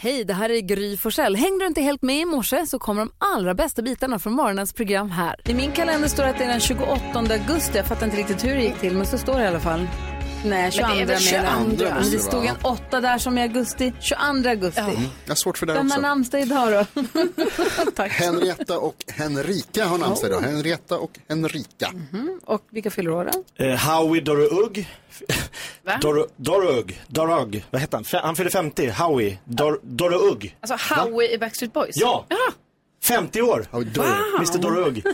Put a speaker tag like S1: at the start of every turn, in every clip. S1: Hej, det här är Gry Forssell. Hängde du inte helt med i morse så kommer de allra bästa bitarna från morgonens program här. I min kalender står att det är den 28 augusti. Jag fattar inte riktigt hur det gick till, men så står det i alla fall. Nej, 22
S2: Men det är väl
S1: menar jag.
S2: 22
S1: Men
S2: måste
S1: Det
S2: det
S1: stod
S2: vara.
S1: en åtta där som i augusti. 22 augusti.
S2: Mm. Jag har svårt för det
S1: Vem har
S2: också.
S1: namnsdag idag då?
S2: Henrietta och Henrika har namnsdag idag. Henrietta och Henrika.
S1: Och vilka fyller år då?
S3: Eh, Howie Dorugg. Dor- Dorugg. Dorugg. Vad heter han? Fe- Han fyller 50. Howie. Dor- Dorugg.
S4: Alltså Howie i Backstreet Boys?
S3: Ja! 50 år. Mr Dorugg.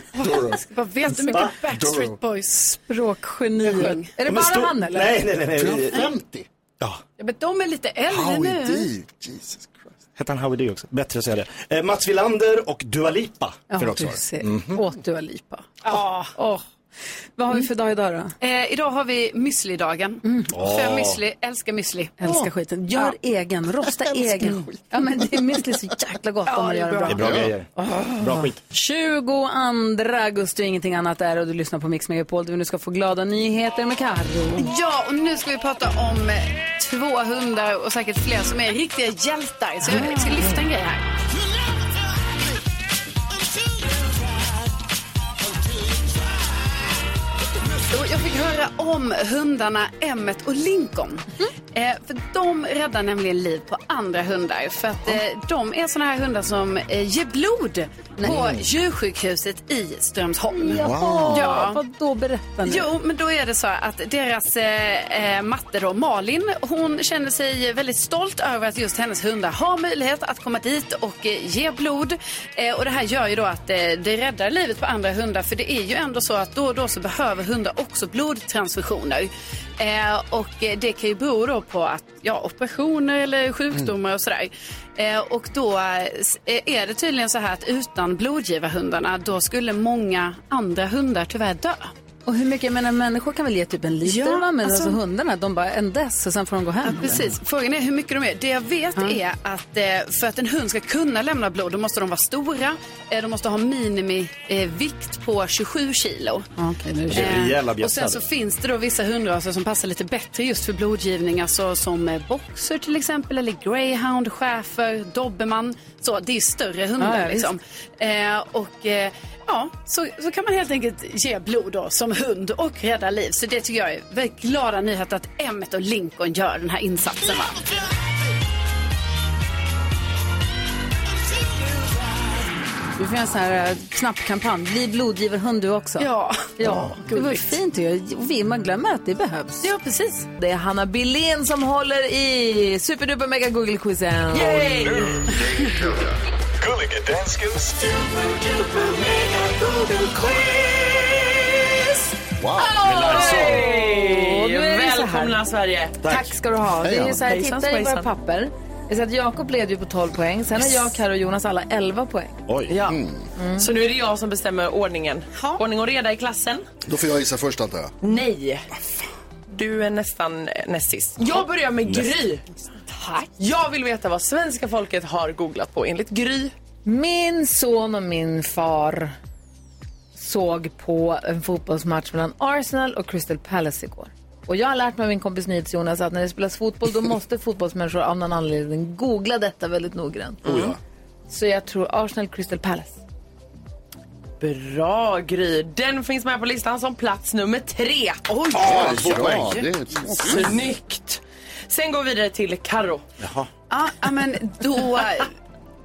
S4: Vad vet du
S3: Va?
S4: mycket Backstreet Boys?
S1: Språkgeni. Är det
S3: Men
S1: bara
S3: stor-
S1: han eller?
S3: Nej, nej, nej. nej.
S2: Fyller han 50?
S4: Ja, men de är lite äldre
S2: Howie
S4: nu.
S2: D. Jesus Christ.
S3: Hette han Howie D också? Bättre att säga det. Eh, Mats Wilander och Dua Lipa.
S1: Ja,
S3: För också.
S1: du ser.
S2: Mm.
S1: Åt Dua Lipa. Åh. Vad har vi för dag idag då? Mm.
S4: Eh, idag har vi müsli-dagen. För müsli, älskar müsli.
S1: Älskar skiten. Gör egen, rosta egen. Ja, men det är müsli så jäkla gott om
S4: Ja,
S1: man
S4: det är
S1: gör det
S4: bra.
S1: bra.
S3: Det är bra grejer. Bra skit.
S1: 22 augusti och ingenting annat är och du lyssnar på Mix Megapol där vi nu ska få glada nyheter med Carro.
S4: Ja, och nu ska vi prata om eh, två hundar och säkert fler som är riktiga hjältar. Så jag ska lyfta en grej här. Och jag fick höra om hundarna Emmet och Lincoln. Eh, för de räddar nämligen liv på andra hundar. För att eh, de är såna här hundar som eh, ger blod på djursjukhuset i Strömsholm.
S2: Wow.
S4: Ja.
S1: Vad då berätta nu.
S4: Jo, men då är det så att deras eh, eh, matte då, Malin, hon känner sig väldigt stolt över att just hennes hundar har möjlighet att komma dit och eh, ge blod. Eh, och det här gör ju då att eh, det räddar livet på andra hundar för det är ju ändå så att då och då så behöver hundar också blodtransfusioner. Eh, och eh, det kan ju bero då på att, ja, operationer eller sjukdomar och sådär. Eh, och då eh, s- eh, är det tydligen så här att utan blodgivarhundarna då skulle många andra hundar tyvärr dö.
S1: Och hur mycket, jag menar människor kan väl ge typ en liter
S4: Ja,
S1: va? Men alltså,
S4: alltså-
S1: hundarna, de bara en dess och sen får de gå hem.
S4: Ja, precis. Frågan är hur mycket de är. Det jag vet är att eh, för att en hund ska kunna lämna blod då måste de vara stora. Eh, de måste ha minimivikt eh, vikt på 27 kilo.
S1: Ja, Okej, nu
S3: Det är rejäla
S4: och sen så
S3: bjässar.
S4: finns det då vissa hundraser som passar lite bättre just för blodgivning. Alltså som eh, boxer till exempel eller greyhound, schäfer, dobermann. Så, det är större hundar
S1: Ja, ja,
S4: liksom. Eh, och eh, ja, så, så kan man helt enkelt ge blod då som hund och rädda liv. Så det tycker jag är väldigt glada nyheter att Emmet och Lincoln gör den här insatsen. Va?
S1: vi får göra en sån här eh, knappkampanj. Bli blodgivarhund du också.
S4: Ja.
S1: Ja, det var ju fint ju. Vi- Man glömmer att det behövs.
S4: Ja, precis.
S1: Det är Hanna Billén som håller i superduper mega Google-quizen.
S5: Gulliga danskens
S2: Wow.
S1: Och nu är det så här.
S6: Välkomna Sverige!
S1: Tack ska du ha. Det är ju så här,
S6: Hejsan,
S1: titta i våra
S6: svejsan.
S1: papper. Jag ser att Jakob leder ju på 12 poäng. Sen har jag, Karo och Jonas alla 11 poäng.
S3: Oj.
S6: Ja.
S2: Mm.
S6: Så nu är det jag som bestämmer ordningen. Ordning och reda i klassen.
S2: Då får jag gissa först antar jag.
S6: Nej. Du är nästan eh, näst sist. Jag börjar med Gry. Tack. Jag vill veta vad svenska folket har googlat på enligt Gry.
S1: Min son och min far såg på en fotbollsmatch mellan Arsenal och Crystal Palace igår. Och jag har lärt mig av min kompis Nyhets Jonas att när det spelas fotboll då måste fotbollsmänniskor av någon anledning googla detta väldigt noggrant. Mm.
S2: Oh, ja.
S1: Så jag tror Arsenal Crystal Palace.
S6: Bra Gry. Den finns med på listan som plats nummer tre. Oj!
S2: ja, det är
S6: Snyggt! Sen går vi vidare till Karo.
S4: Ja, ja, men då...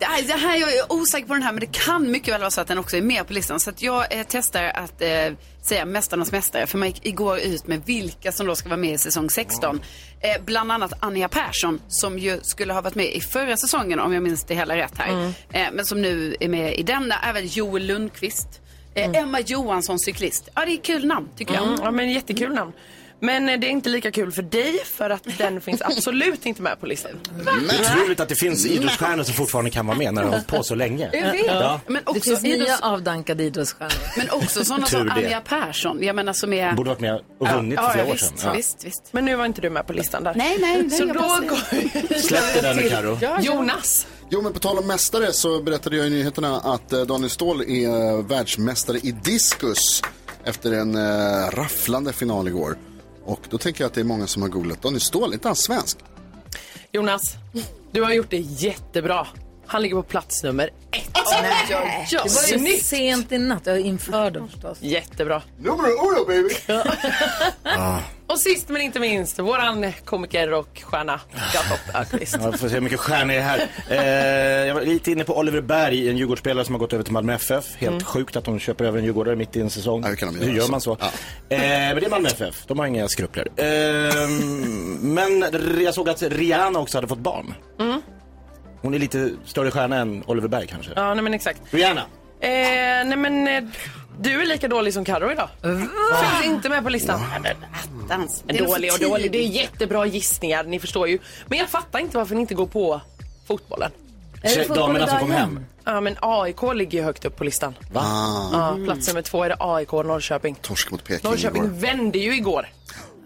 S4: Nej, Det här, jag är osäker på den här, men det kan mycket väl vara så att den också är med på listan. Så att jag eh, testar att eh, säga Mästarnas mästare, för man gick igår ut med vilka som då ska vara med i säsong 16. Eh, bland annat Anja Persson, som ju skulle ha varit med i förra säsongen, om jag minns det hela rätt här.
S6: Mm.
S4: Eh, men som nu är med i denna, även Joel Lundqvist. Eh, Emma Johansson, cyklist. Ja, det är kul namn, tycker jag.
S6: Mm, ja, men jättekul namn. Men eh, det är inte lika kul för dig för att den finns absolut inte med på listan.
S3: Otroligt att det finns idrottsstjärnor som fortfarande kan vara med när de har hållit på så länge. Ja.
S4: Men
S1: Det
S4: också,
S1: finns nya
S4: idrotts-
S1: avdankade idrottsstjärnor.
S4: men också sådana som
S3: Tur det.
S4: Anja Persson, jag menar som är...
S3: Borde varit med och vunnit
S4: ja,
S3: för
S4: ja,
S3: flera år
S4: visst,
S3: sedan. Ja.
S4: visst, visst.
S6: Men nu var inte du med på listan där.
S4: Nej, nej, nej
S6: Så
S4: jag
S6: då
S4: bara säger.
S6: går
S3: Släpp det där nu Karo.
S6: Jonas.
S2: Jo, men på tal om mästare så berättade jag i nyheterna att eh, Daniel Ståhl är eh, världsmästare i diskus efter en eh, rafflande final igår. Och då tänker jag att det är många som har googlat. Daniel Ståhl, är inte han svensk?
S6: Jonas, du har gjort det jättebra. Han ligger på plats nummer ett.
S1: Nej. Det var ju
S6: Snyggt.
S1: sent i natt. Jag inför dem förstås.
S6: Jättebra.
S2: Nummer uno baby!
S6: Och sist men inte minst, våran komiker och stjärna Jakob Öqvist.
S3: Ja, vi får se hur mycket stjärnor det är här. Eh, jag var lite inne på Oliver Berg, en Djurgårdsspelare som har gått över till Malmö FF. Helt sjukt att de köper över en djurgårdare mitt i en säsong.
S2: Ja, hur kan de
S3: hur
S2: göra
S3: gör
S2: så?
S3: man så?
S2: Ja.
S3: Eh, men det är Malmö FF, de har inga skrupler. Eh, men r- jag såg att Rihanna också hade fått barn. Hon är lite större stjärna än Oliver Berg kanske.
S6: Ja, nej men exakt.
S3: Rihanna!
S6: Eh, nej men eh, du är lika dålig som Carro idag. Finns inte med på listan.
S4: Dans.
S6: Men
S4: Det är nog
S6: dålig
S4: för
S6: och dålig, det är
S4: tidigt.
S6: jättebra gissningar, ni förstår ju. Men jag fattar inte varför ni inte går på fotbollen.
S1: Är det fotboll
S3: Damerna som
S1: idag
S3: kom
S1: igen?
S3: hem.
S6: Ja men AIK ligger ju högt upp på listan.
S3: Va? Ah. Mm.
S6: Ja, plats nummer två är det AIK Norrköping.
S2: Torsk mot Peking
S6: Norrköping Mm.
S2: igår.
S6: vände ju igår.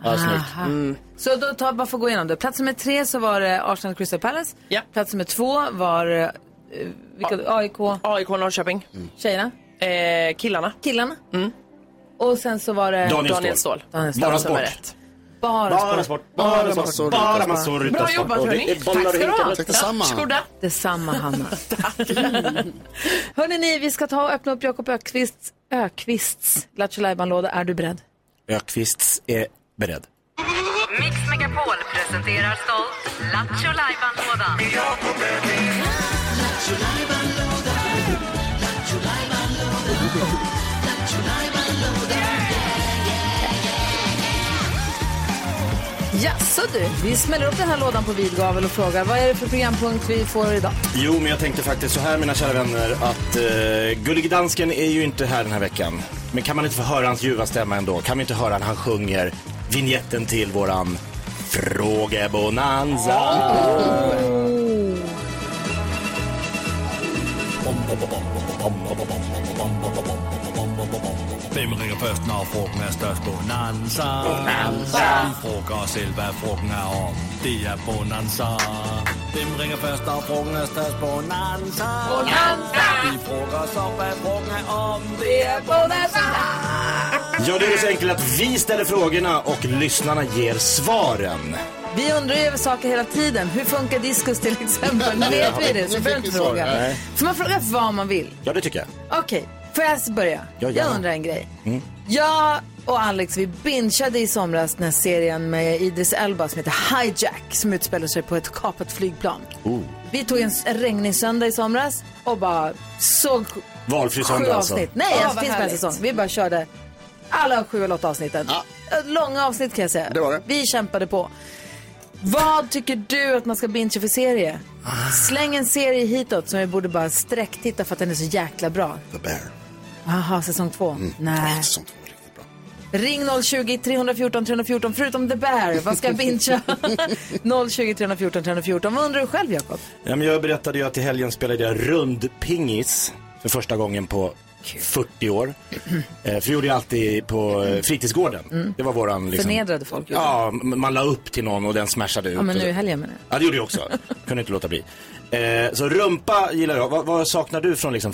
S3: Ja, snyggt. Mm.
S1: Så då tar, bara för att gå igenom det. Plats nummer tre så var det Arsenal Crystal Palace.
S6: Ja.
S1: Plats nummer två var eh, vilka, AIK,
S6: AIK Norrköping.
S3: Mm.
S1: tjejerna,
S6: Eh, killarna. Mm.
S1: killarna. Och sen så var det
S3: Daniel,
S6: Eh, Daniel
S3: Ståhl.
S6: Ståhl.
S1: Daniel Ståhl.
S3: Bara
S6: Som
S3: sport.
S6: är rätt.
S1: bara,
S3: Bara
S1: sport.
S3: sport.
S2: Bara
S3: Bara
S2: massor
S3: massor.
S2: utan
S3: Bara
S2: sport.
S3: massor utan
S6: Bra
S3: sport.
S6: jobbat
S3: Och det
S6: hörni.
S3: är
S6: Tack
S3: bollar
S6: ska
S3: och
S6: du
S3: hinkar.
S6: ha.
S2: Tack detsamma.
S6: Varsågoda.
S1: Detsamma Hanna. Hörrni ni, vi ska ta och öppna upp Jakob Ökvists Ökvists Lattjo Lajban-låda. Är du beredd?
S3: Ökvists är beredd.
S5: Mix Megapol presenterar stolt Lattjo Lajban-lådan.
S1: Jaså du, vi smäller upp den här lådan på vid gavel och frågar vad är det för programpunkt vi får idag?
S3: Jo, men jag tänkte faktiskt så här mina kära vänner att eh, Gullige Dansken är ju inte här den här veckan. Men kan man inte få höra hans ljuva stämma ändå? Kan vi inte höra när han sjunger vignetten till våran Frågebonanza?
S7: Hvem ringer først, når frugten er størst? Bonanza. Bonanza. Frugger selv, hvad frugten er om. Det er Bonanza. Hvem ringer først, når frugten er størst? Bonanza. Bonanza. Vi frugger så, hvad frugten er om. Det er
S3: Ja, det är så enkelt att vi ställer frågorna och lyssnarna ger svaren.
S1: Vi undrar ju över saker hela tiden. Hur funkar diskus till exempel? Nu vet vi det, så
S2: Nu
S1: vi
S2: fick
S1: behöver inte
S2: vi svar.
S1: fråga.
S3: Nej.
S1: Så man frågar vad man vill.
S3: Ja, det tycker jag.
S1: Okej, får jag börja?
S3: Ja, gärna.
S1: jag undrar en grej. Jag och Alex vi bingeade i somras den här serien med Idris Elba som heter Hijack som utspelar sig på ett kapat flygplan. Vi tog en, s- en regnig söndag i somras och bara såg
S3: Valfri
S1: sju
S3: söndag alltså.
S1: avsnitt. Nej,
S4: Ah,
S1: alltså,
S4: vad
S1: finns bara en
S4: härligt.
S1: säsong. Vi bara körde alla sju eller åtta avsnitten. Ett Långa avsnitt kan jag säga.
S2: Det var det.
S1: Vi kämpade på. Vad tycker du att man ska binge för serie? Släng en serie hitåt som vi borde bara sträcktitta för att den är så jäkla bra.
S2: The Bear. Mm.
S1: Jaha, säsong två. Nej.
S2: Sånt var riktigt bra.
S1: Ring 020 314 314 förutom The Bear. Vad ska jag bincha? 020 314 314. Vad undrar du själv Jakob?
S3: Ja, men jag berättade ju att i helgen spelade jag rundpingis för första gången på 40 år. Eh, för det gjorde jag alltid på eh, fritidsgården. Det var våran liksom...
S1: Förnedrade Mm. folk gjorde
S3: Ja, m- man la upp till någon och den smashade ut.
S1: Ja, men
S3: och
S1: nu
S3: så-
S1: i helgen menar jag.
S3: Ja, det gjorde jag också. Kunde inte låta bli. Eh, så rumpa gillar jag. Vad, vad saknar du från liksom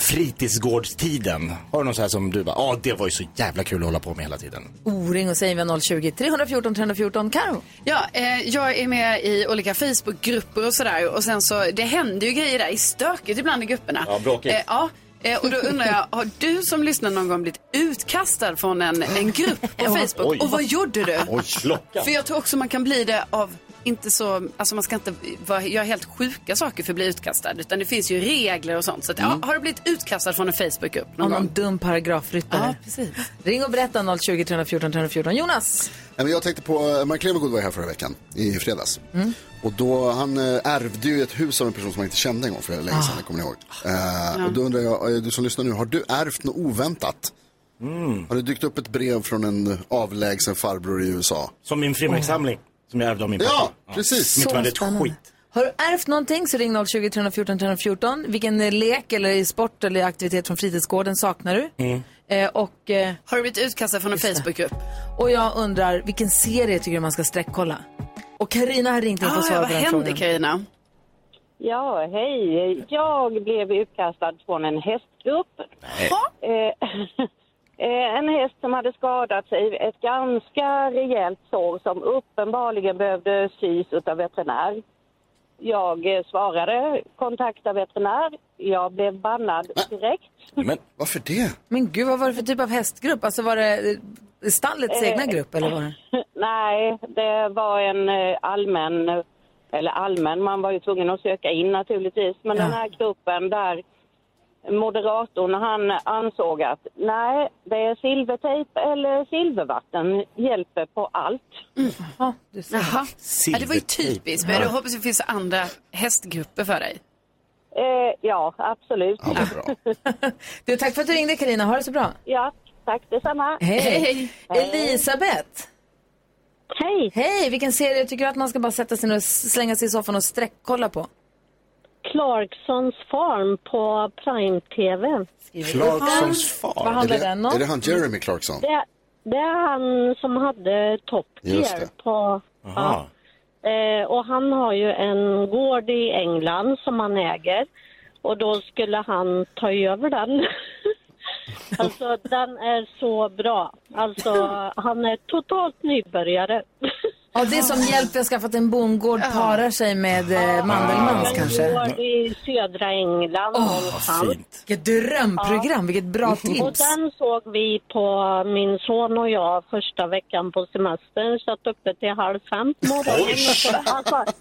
S3: fritidsgårdstiden? Har du någon så här som du bara, ja det var ju så jävla kul att hålla på med hela tiden.
S1: O-ring och säg vem 020 314 314. Karo.
S4: Ja, eh, jag är med i olika Facebookgrupper och sådär. Och sen så, det händer ju grejer där. Det är stökigt ibland i grupperna.
S3: Ja, bråkigt.
S4: Eh, ja. Eh, Och då undrar jag, har du som lyssnar någon gång blivit utkastad från en, en grupp på Facebook?
S3: Oj.
S4: Och vad gjorde du?
S3: Klockan.
S4: För jag tror också man kan bli det av inte så, alltså man ska inte vara, göra helt sjuka saker för att bli utkastad. Utan det finns ju regler och sånt. Så att, ja, har du blivit utkastad från en Facebookgrupp någon
S1: Av någon
S4: gång?
S1: dum paragrafryttare.
S4: Ja, precis.
S1: Ring och berätta 020 314 314. Jonas.
S2: Nej, men Jag tänkte på, eh, Mark Levengood var ju här förra veckan, i fredags. Och då, han eh, ärvde ju ett hus av en person som han inte kände en gång för länge sedan, jag kommer ni ihåg. Eh, Och då undrar jag, eh, du som lyssnar nu, har du ärvt något oväntat?
S3: Mm.
S2: Har det dykt upp ett brev från en avlägsen farbror i USA?
S3: Som min frimärkssamling. Som jag ärvde av min pappa.
S2: Ja, precis.
S3: Som inte
S1: Så
S3: var ett
S1: spännande.
S3: skit.
S1: Har du ärvt någonting så ring 020 314 314. Vilken eh, lek eller sport eller aktivitet från fritidsgården saknar du?
S3: Mm.
S1: Eh, och... Eh,
S4: Har du blivit utkastad från en Facebookgrupp?
S1: Och jag undrar, vilken serie tycker du man ska sträckkolla? Och Karina har ringt in för
S4: Ah,
S1: att
S4: ja,
S1: svara
S4: vad
S1: på den
S4: hände
S1: frågan.
S4: Carina?
S8: Ja, hej. Jag blev utkastad från en hästgrupp. Eh, eh, en häst som hade skadat sig, ett ganska rejält sår som uppenbarligen behövde sys av veterinär. Jag eh, svarade, kontakta veterinär. Jag blev bannad direkt.
S3: Men
S2: varför det?
S1: Men gud, vad var det för typ av hästgrupp? Alltså var det eh, stallets
S8: Eh,
S1: egna grupp eller var det?
S8: Nej, det var en eh, allmän, eller allmän, man var ju tvungen att söka in naturligtvis. Men den här gruppen där moderatorn, han ansåg att nej, det är silvertejp eller silvervatten hjälper på allt.
S1: Jaha,
S4: Jaha. Ja, det var ju typiskt. Men
S8: Ja.
S4: jag hoppas det finns andra hästgrupper för dig.
S8: Eh, ja, absolut.
S1: Du, tack för att du ringde Karina. Ha det så bra.
S8: Ja, tack detsamma.
S1: Hej. Elisabeth.
S8: Hej.
S1: Hej, vilken serie tycker du att man ska bara sätta sig ner och s- slänga sig i soffan och sträckkolla på?
S9: Clarksons farm på Prime-TV.
S2: Clarksons far.
S1: Vad handlar
S2: är det,
S1: den om?
S2: Är det han Jeremy Clarkson?
S9: Det, det är han som hade Top
S2: Just
S9: Gear
S2: det.
S9: på...
S2: Aha.
S9: Eh, och han har ju en gård i England som han äger. Och då skulle han ta över den. alltså den är så bra. Alltså han är totalt nybörjare.
S1: Ja, det är som hjälp vi har skaffat en bondgård parar sig med eh, Mandelmans
S2: Ah.
S9: En
S1: kanske.
S9: gård i södra England. någonstans.
S1: Vilket drömprogram, vilket bra
S9: Mm. Och
S1: tips.
S9: den såg vi på min son och jag första veckan på semestern. Satt uppe till halv fem på morgonen. Alltså,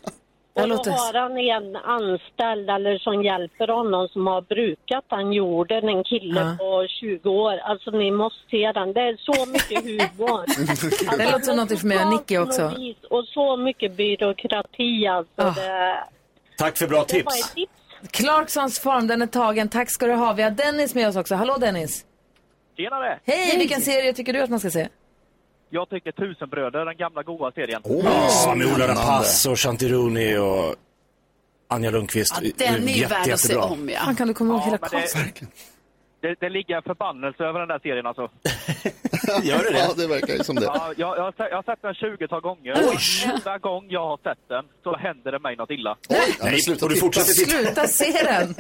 S1: Det
S9: och
S1: låter-
S9: då har han en anställd eller som hjälper honom som har brukat den jorden, en kille
S1: Ja.
S9: på 20 år. Alltså ni måste se den, det är så mycket humor. Alltså,
S1: Det låter som någonting för mig och Nicky också.
S9: novis Och så mycket byråkrati alltså.
S1: Ah.
S9: Det,
S3: Tack för bra
S9: det var ett
S3: tips.
S9: tips.
S1: Clarksons farm, den är tagen. Tack ska du ha. Vi har Dennis med oss också. Hallå Dennis.
S10: Tjenare!
S1: Hej, vilken serie tycker du att man ska se?
S10: Jag tycker Tusenbröder, den gamla goa serien.
S3: Ja, Ah, med Ola Rapace och Chantironi och Anja Lundqvist.
S10: den är ju
S3: Jätte-
S10: värd att se
S3: jättebra.
S10: om,
S1: Fan, kan du komma ihåg hela
S10: men det-
S1: konsten?
S10: Det, det ligger en förbannelse över den där serien alltså.
S3: Gör det det?
S2: Ja, det verkar ju som det.
S10: Ja, jag, jag, har sett, jag har sett den 20-tal gånger. Varenda gång jag har sett den så händer det mig något illa.
S3: Nej, och du fortsätter titta.
S1: Sluta se den!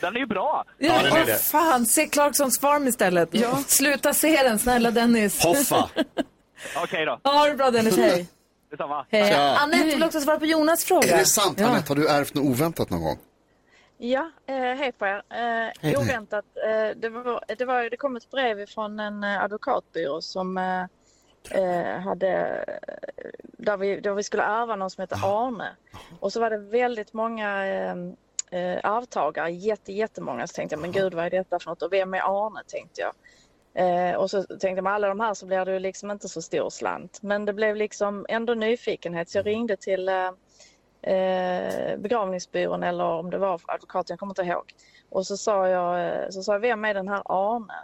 S10: Den är ju bra!
S3: Ja, den är
S1: Åh,
S3: det.
S1: fan, se Clarksons farm istället. Sluta se den, snälla Dennis.
S3: Hoffa.
S10: Okej då,
S1: Ja, ha det bra Dennis, hej.
S10: detsamma.
S1: hej.
S2: Tja.
S1: Anette vill också svara på Jonas fråga.
S2: Är det sant? Anette, har du ärvt något oväntat någon gång?
S11: Ja, eh, hej på er. Eh,
S2: Hej.
S11: oväntat. Eh, det, var, det, var, det kom ett brev från en eh, advokatbyrå som eh, eh, hade, eh, där vi, där vi skulle ärva någon som hette Arne. Och så var det väldigt många eh, eh, arvtagare, jätte, jättemånga. Så tänkte jag, men gud vad är detta för något och vem är Arne tänkte jag. Eh, och så tänkte jag med alla de här så blir det ju liksom inte så stor slant. Men det blev liksom ändå nyfikenhet så jag
S2: Mm.
S11: ringde till eh, eh, begravningsbyrån eller om det var advokaten, jag kommer inte ihåg. Och så sa jag, eh, så sa jag vem är den här Arne?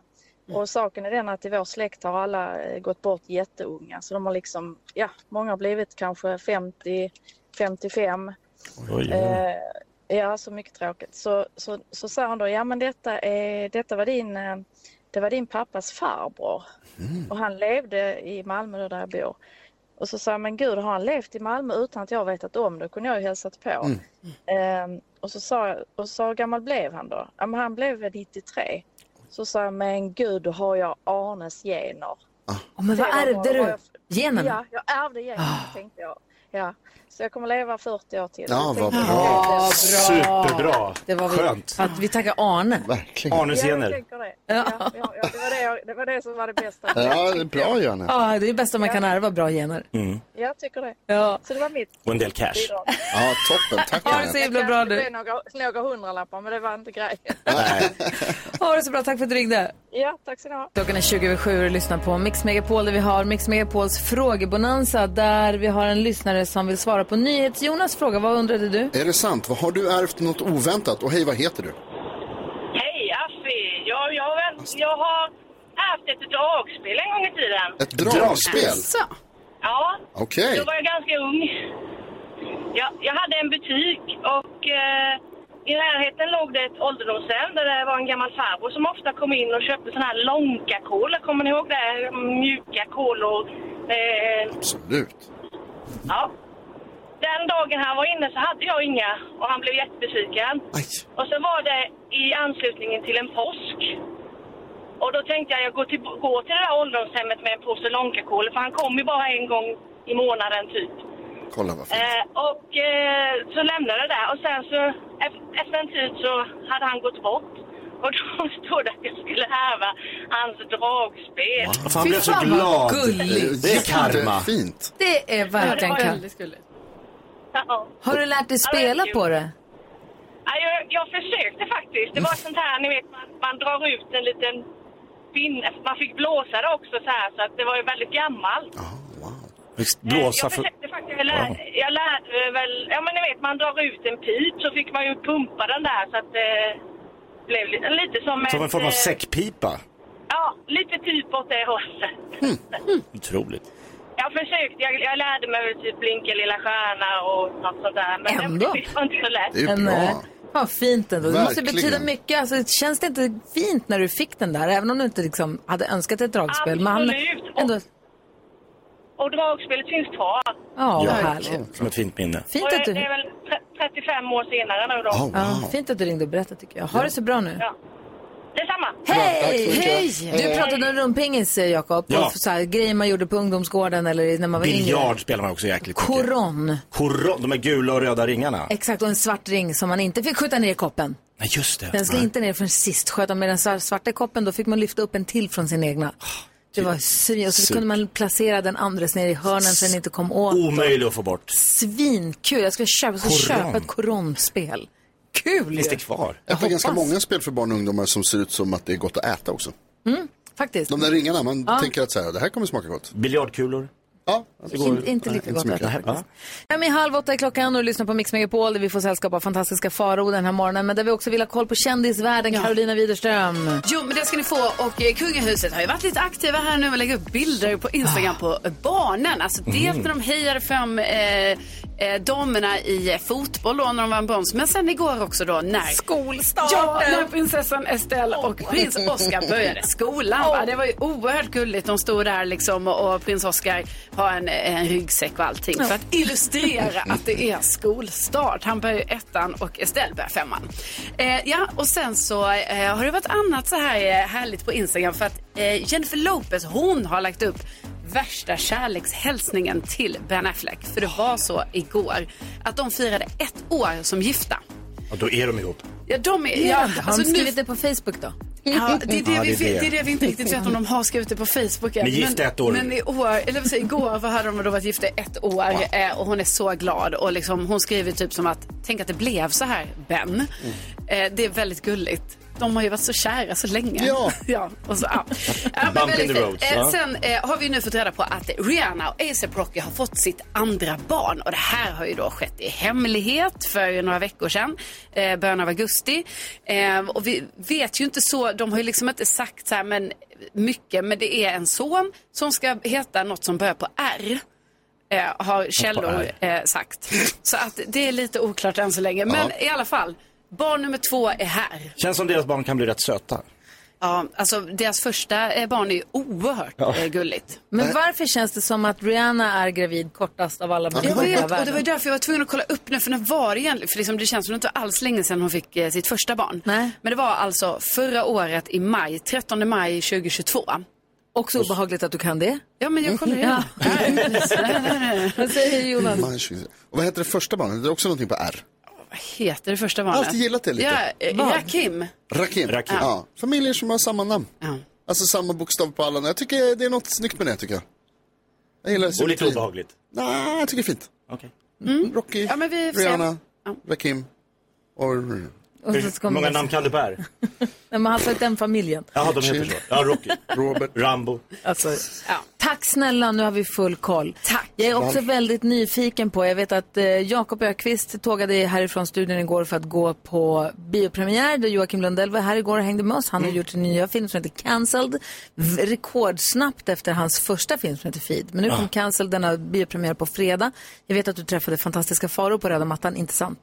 S11: Och saken är den att i vår släkt har alla eh, gått bort jätteunga. Så de har liksom, ja, många har blivit kanske 50, 55. Eh, ja, så mycket tråkigt. Så, så, så sa han då, ja men detta, är, detta var, din, eh, det var din pappas farbror.
S2: Mm.
S11: Och han levde i Malmö då där jag bor. Och så sa jag, men gud har han levt i Malmö utan att jag vetat om det? kunde jag ju hälsat på.
S2: Mm.
S11: Ehm, och så sa jag, och så sa jag, hur gammal blev han då? Ja, men han blev väl 93. Så sa jag, men gud då har jag Arnes gener.
S1: Åh, men vad
S11: Sedan
S1: ärvde
S11: har- har
S1: du?
S11: jag-
S1: Genen?
S11: Ja, jag ärvde generna tänkte jag. Ja, så jag kommer leva 40 år till.
S2: Ja,
S11: Jag
S2: vad
S11: tänkte-
S2: bra.
S1: Ja,
S3: Superbra.
S1: Det var vi,
S3: Skönt.
S1: Att vi tackar Arne.
S2: Verkligen.
S11: Ja, jag
S3: Anusgener.
S11: tänker det. Ja, ja, ja, det, var det, jag, det var det som var det bästa.
S2: Ja, det är bra Janne.
S1: Ja, det är det bästa man kan ärva, bra gener.
S11: Jag tycker det.
S1: Ja.
S11: Så det var mitt
S3: Mm. Och en del cash.
S11: bidrag.
S2: Ja, toppen. Tack
S1: Ha det så
S2: Janne.
S1: himla bra
S11: Det
S1: nu.
S11: blev några, några hundralappar, men det var inte grejen.
S3: Nej.
S1: Ha det så bra, tack för att du ringde.
S11: Ja, tack ska ni ha.
S1: Klockan är 20 över sju och du lyssnar på Mix Megapol där vi har Mix Megapols frågebonanza där vi har en lyssnare som vill svara på NyhetsJonas fråga. Vad undrade du?
S2: Är det sant? Vad- Har du ärvt något oväntat? Och hej, vad heter du?
S12: Hej, Affi! Jag, jag, har väl- jag har haft ett dragspel en gång i tiden.
S2: Ett dragspel?
S4: Så.
S12: Ja,
S2: Okej.
S12: då var jag ganska ung. Jag, jag hade en butik och eh, i närheten låg det ett ålderdomshem där det var en gammal farbror som ofta kom in och köpte såna här lånka-kolor. Kommer ni ihåg det? Mjuka kolor. Eh,
S2: Absolut.
S12: ja. Den dagen han var inne så hade jag inga och han blev jättebesviken.
S2: Aj.
S12: Och så var det i anslutningen till en påsk. Och då tänkte jag jag går till, går till det där ålderdomshemmet med en påse långkakål för han kom ju bara en gång i månaden typ.
S2: Kolla vad fint.
S12: Eh, och eh, så lämnade jag det där och sen så ef- efter en tid så hade han gått bort. Och då stod det att jag skulle härva hans dragspel.
S3: Fan, han blev så glad. Eh, Det är karma.
S2: Fint.
S1: Det är verkligen
S12: Ja, det var
S1: kul.
S12: väldigt Ja.
S1: Har du lärt dig spela på det?
S12: Ja, jag, jag försökte faktiskt. Det var sånt här, ni vet, man, man drar ut en liten pinne. Man fick blåsa det också så här, så att det var ju väldigt gammalt. Eh,
S3: Blåsa
S12: Jag
S3: för...
S12: försökte faktiskt, jag, lär,
S3: Wow.
S12: jag lärde mig väl, ja men ni vet man drar ut en pip så fick man ju pumpa den där så att det blev lite, lite som,
S3: Som en form av
S12: eh,
S3: säckpipa.
S12: Ja, lite typ åt det hållet.
S3: Otroligt.
S12: Jag försökte, jag, jag lärde mig väl typ blinka lilla stjärna och något sånt där. Men
S1: Ändå.
S12: det var inte så lätt.
S1: Nej. eh, Ja, fint ändå. Det måste ju
S12: Verkligen.
S1: betyda mycket. Alltså, känns det inte fint när du fick den där? Även om du inte liksom hade önskat ett dragspel. Men han-
S12: Absolut.
S1: ändå,
S12: Och dragspelet finns kvar.
S1: Ja, vad härligt.
S3: Som ett fint minne.
S1: Fint
S12: och
S1: att du-
S12: Det är väl tre- 35 år senare nu då.
S1: ja, fint att du ringde och berättade tycker jag. Ha det så bra nu.
S12: Detsamma.
S1: Hej! Du pratade om rumpingis, eh, Jakob.
S3: Ja.
S1: Och så här, grejer man gjorde på ungdomsgården eller när man var yngre.
S3: Biljard spelar man också jäkligt mycket.
S1: Koron.
S3: Koron, de här gula och röda ringarna.
S1: Exakt, och en svart ring som man inte fick skjuta ner i koppen.
S3: Nej, just det.
S1: Den skulle
S3: Nej.
S1: inte ner förrän sist. Sköt man med den svar- svarta koppen då fick man lyfta upp en till från sin egna.
S4: Ah,
S1: Det var svin. Och så
S3: Super.
S1: kunde man placera den andres ner i hörnen så den inte kom åt.
S3: Omöjlig att få bort.
S1: Svinkul. Jag skulle köpa, jag skulle
S2: Koron.
S1: köpa ett koronspel. Kul ju.
S3: kvar?
S2: Jag har
S1: Jag
S2: ganska
S1: hoppas.
S2: många spel för barn och ungdomar som ser ut som att det är gott att äta också.
S1: Mm, faktiskt.
S2: De där ringarna, man
S1: Ja.
S2: tänker att så här, det här kommer smaka gott.
S3: Biljardkulor?
S2: Ja.
S1: Inte- inte lika
S2: så
S1: gott
S2: mycket.
S1: att äta Fem i halv åtta är klockan och du lyssnar på Mix Megapol där vi får sällskap av fantastiska Farao den här morgonen. Men där vi också vill ha koll på kändisvärlden, Carolina Widerström.
S4: Jo, men det ska ni få. Och eh, kungahuset har ju varit lite aktiva här nu och lägger upp bilder på Instagram på barnen. Alltså dels
S1: Mm.
S4: när de hejade fram eh, eh, damerna i eh, fotboll då när de vann brons. Men sen igår också då när...
S6: Skolstarten!
S4: Ja, när prinsessan Estelle och prins Oscar började skolan. Va? Det var ju oerhört gulligt. De stod där liksom och, och prins Oscar har en, en ryggsäck och allting för att illustrera att det är skolstart. Han börjar ju ettan och Estelle börjar femman. Eh, ja, och sen så eh, har det varit annat så här eh, härligt på Instagram för att eh, Jennifer Lopez, hon har lagt upp värsta kärlekshälsningen till Ben Affleck. För det var så igår att de firade ett år som gifta.
S3: Ja, då är de ihop.
S4: Ja, de är...
S1: Ja,
S4: Ja,
S1: har de skrivit
S4: det
S1: på Facebook då?
S4: Ja, det är det,
S3: Ja,
S4: vi,
S3: det är det.
S4: det är det vi inte riktigt vet om de har skrivit det på Facebook än.
S3: Men gifta ett år.
S4: Men i år, eller vad säger, igår vad hade de då varit gifta i ett år eh, och hon är så glad och liksom, hon skriver typ som att tänk att det blev så här Ben.
S1: Mm.
S4: Eh, det är väldigt gulligt. De har ju varit så kära så länge. Ja. ja, och så, ja. Ja, men
S3: Bump
S4: väldigt
S3: in the
S4: fint.
S3: road,
S4: Eh,
S3: va?
S4: Sen eh, har vi nu fått reda på att Rihanna och ASAP Rocky har fått sitt andra barn. Och det här har ju då skett i hemlighet för några veckor sedan, eh, början av augusti. Eh, och vi vet ju inte så, de har ju liksom inte sagt så här men, mycket, men det är en son som ska heta något som börjar på R. Eh, har källor
S13: R.
S4: eh, sagt. Så att det är lite oklart än så länge. Men i alla fall, barn nummer två är här.
S3: Känns som deras barn kan bli rätt söta.
S4: Ja, alltså deras första eh, barn är ju oerhört
S3: Ja.
S4: eh, gulligt.
S2: Äh,
S1: Men varför känns det som att Rihanna är gravid kortast av alla barn
S4: Jag
S1: i hela
S4: vet, och det
S1: världen?
S4: var därför jag var tvungen att kolla upp nu, för när var det egentligen? För liksom, det känns som det inte var alls länge sedan hon fick eh, sitt första barn. Men det var alltså förra året i maj, 13 maj 2022.
S1: Också
S2: Alltså-
S1: obehagligt att du kan det.
S4: Ja, men jag kollar
S1: Ja.
S4: igen. Nej, nej, nej, nej.
S1: Vad säger Jonas?
S2: Man tjugo- Och vad heter det första barnet? Det är också någonting på R.
S4: Heter det första barnet?
S2: Alltid gillat det lite.
S4: Ja, eh,
S2: Vad?
S4: Rakim.
S2: Rakim.
S4: Rakim.
S2: Ja. Familjer som har samma namn. Alltså samma bokstav på alla. Jag tycker det är något snyggt med det tycker jag. Jag gillar
S3: Och lite obehagligt.
S2: Nej, jag tycker det är fint.
S3: Okej.
S2: Rocky,
S4: ja, men vi får se.
S2: Rihanna, Rakim och...
S1: Och så ska
S3: Hur
S1: man
S3: många
S1: bara-
S3: namn kan du bära?
S1: Nej, men alltså den familjen.
S3: Jaha, de heter så. Ja, Rocky. Robert. Rambo.
S1: Alltså, Tack snälla, nu har vi full koll. Tack. Jag är också
S3: Varför?
S1: väldigt nyfiken på, jag vet att eh, Jakob Ökvist tågade härifrån studion igår för att gå på biopremiär där Joakim Lundell var här igår och hängde med oss. Han har gjort en nya film som heter Cancelled, v- rekordsnabbt efter hans första film som heter Feed. Men nu kom
S13: Ah.
S1: Cancelled, den har biopremiär på fredag. Jag vet att du träffade fantastiska faror på röda mattan, inte sant?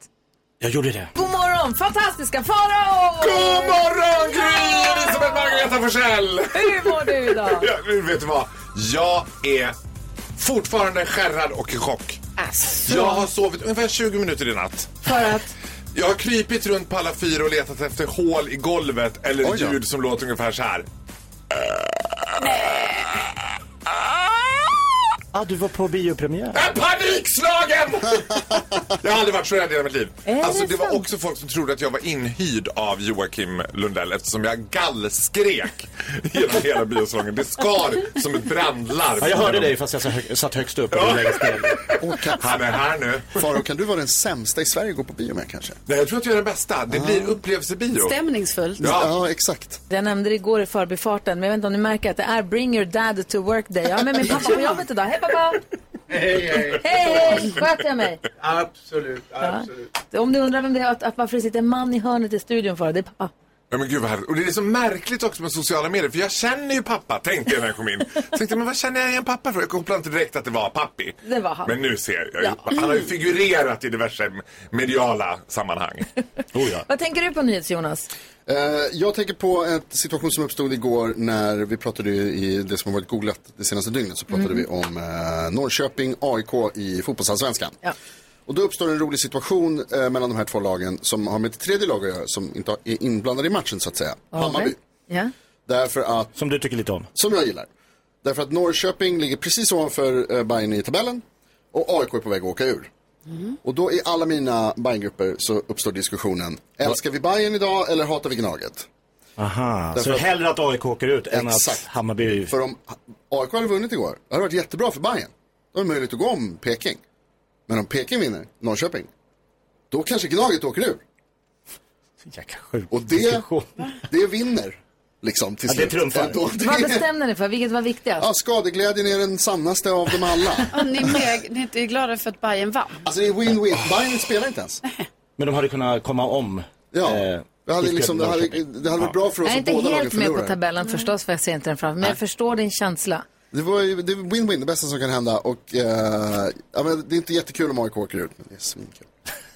S3: Jag gjorde det.
S1: God morgon, fantastiska faror! God
S14: morgon, Gry Elisabeth Margareta Forssell!
S1: Hur mår du idag?
S14: Ja, men vet du vad? Jag är fortfarande skärrad och i chock. Jag har sovit ungefär 20 minuter i natt.
S1: För att?
S14: Jag har krypit runt på alla fyra och letat efter hål i golvet eller ljud som låter ungefär så här.
S3: Ah, du var på biopremiär.
S14: En panik! panikslagen! jag har aldrig varit så rädd i hela mitt liv.
S13: Är
S14: Alltså,
S13: det
S14: det var
S13: sant?
S14: också folk som trodde att jag var inhyrd av Joakim Lundell eftersom jag gallskrek genom hela biosalongen. Det skar som ett brandlarm.
S3: Ja, jag hörde dig fast jag sa hög- satt högst upp. och längst ner.
S14: Han är här nu.
S2: Faro, kan du vara den sämsta i Sverige att gå på bio med kanske?
S14: Nej, jag tror att jag är den bästa. Det blir upplevelsebio.
S4: Stämningsfullt.
S2: Ja, ja exakt.
S1: Jag nämnde det igår i förbifarten, men jag vet inte om ni märker att det är Bring your dad to work day. Jag har med min pappa på jobbet idag. Hej pappa!
S15: Hej, hej.
S1: Hej, hej! Sköter jag mig?
S15: Absolut,
S1: Ja.
S15: absolut.
S1: Om du undrar vem det är, att, att varför det sitter en man i hörnet i studion för, det är pappa.
S14: Ja, men gud vad härligt. Och det är så märkligt också med sociala medier, för jag känner ju pappa, tänkte jag när jag kom in. Jag tänkte, men vad känner jag igen pappa för? Jag kopplade inte direkt att det var pappi.
S1: Det var han.
S14: Men nu ser jag ju.
S1: Ja.
S14: Han har ju figurerat i diverse mediala sammanhang.
S3: Oh, ja.
S1: Vad tänker du på nyhets, Jonas?
S2: Eh, Jag tänker på en situation som uppstod igår när vi pratade ju i det som har varit googlat det senaste dygnet så pratade
S13: Mm.
S2: vi om eh, Norrköping AIK i fotbollsallsvenskan. Och då uppstår en rolig situation eh, mellan de här två lagen som har med ett tredje lag att göra som inte har- är inblandade i matchen så att säga. Hammarby.
S1: Ja.
S2: Därför att...
S3: Som du tycker lite om.
S2: Som jag gillar. Därför att Norrköping ligger precis ovanför eh, Bayern i tabellen och AIK är på väg att åka ur. Och då i alla mina Bayerngrupper så uppstår diskussionen, älskar vi Bayern idag eller hatar vi Gnaget?
S3: Aha,
S2: Därför
S3: Ah, så
S2: att-
S3: hellre att AIK åker ut än att
S2: Exakt.
S3: Hammarby...
S2: För om AIK hade vunnit igår, det hade varit jättebra för Bayern. Då är det möjligt att gå om Peking. Men om Peking vinner, Norrköping, då kanske Gnaget åker ur. Och det, det vinner. Liksom till
S3: Ja, det
S2: slut.
S3: trumfar.
S2: Då- det-
S1: Vad bestämde ni för? Vilket var viktigast?
S2: Ja, skadeglädjen är den sannaste av dem alla.
S4: Ja, Ni är, med, ni är inte glada för att Bayern vann?
S2: Alltså det är win-win. Bayern spelar inte ens.
S3: Men de hade kunnat komma om.
S2: Ja,
S3: eh,
S2: det hade,
S3: IFK
S2: liksom, det hade,
S3: Norrköping.
S2: det hade varit bra för oss
S1: Jag är
S2: att
S1: inte
S2: båda lagen
S1: helt med på
S2: förlorar.
S1: tabellen förstås, för jag ser inte den framför mig. Men jag förstår din känsla.
S2: Det var ju det är win-win, det bästa som kan hända. Och, eh, ja, men det är inte jättekul om AIK åker ut, men det är svinkul.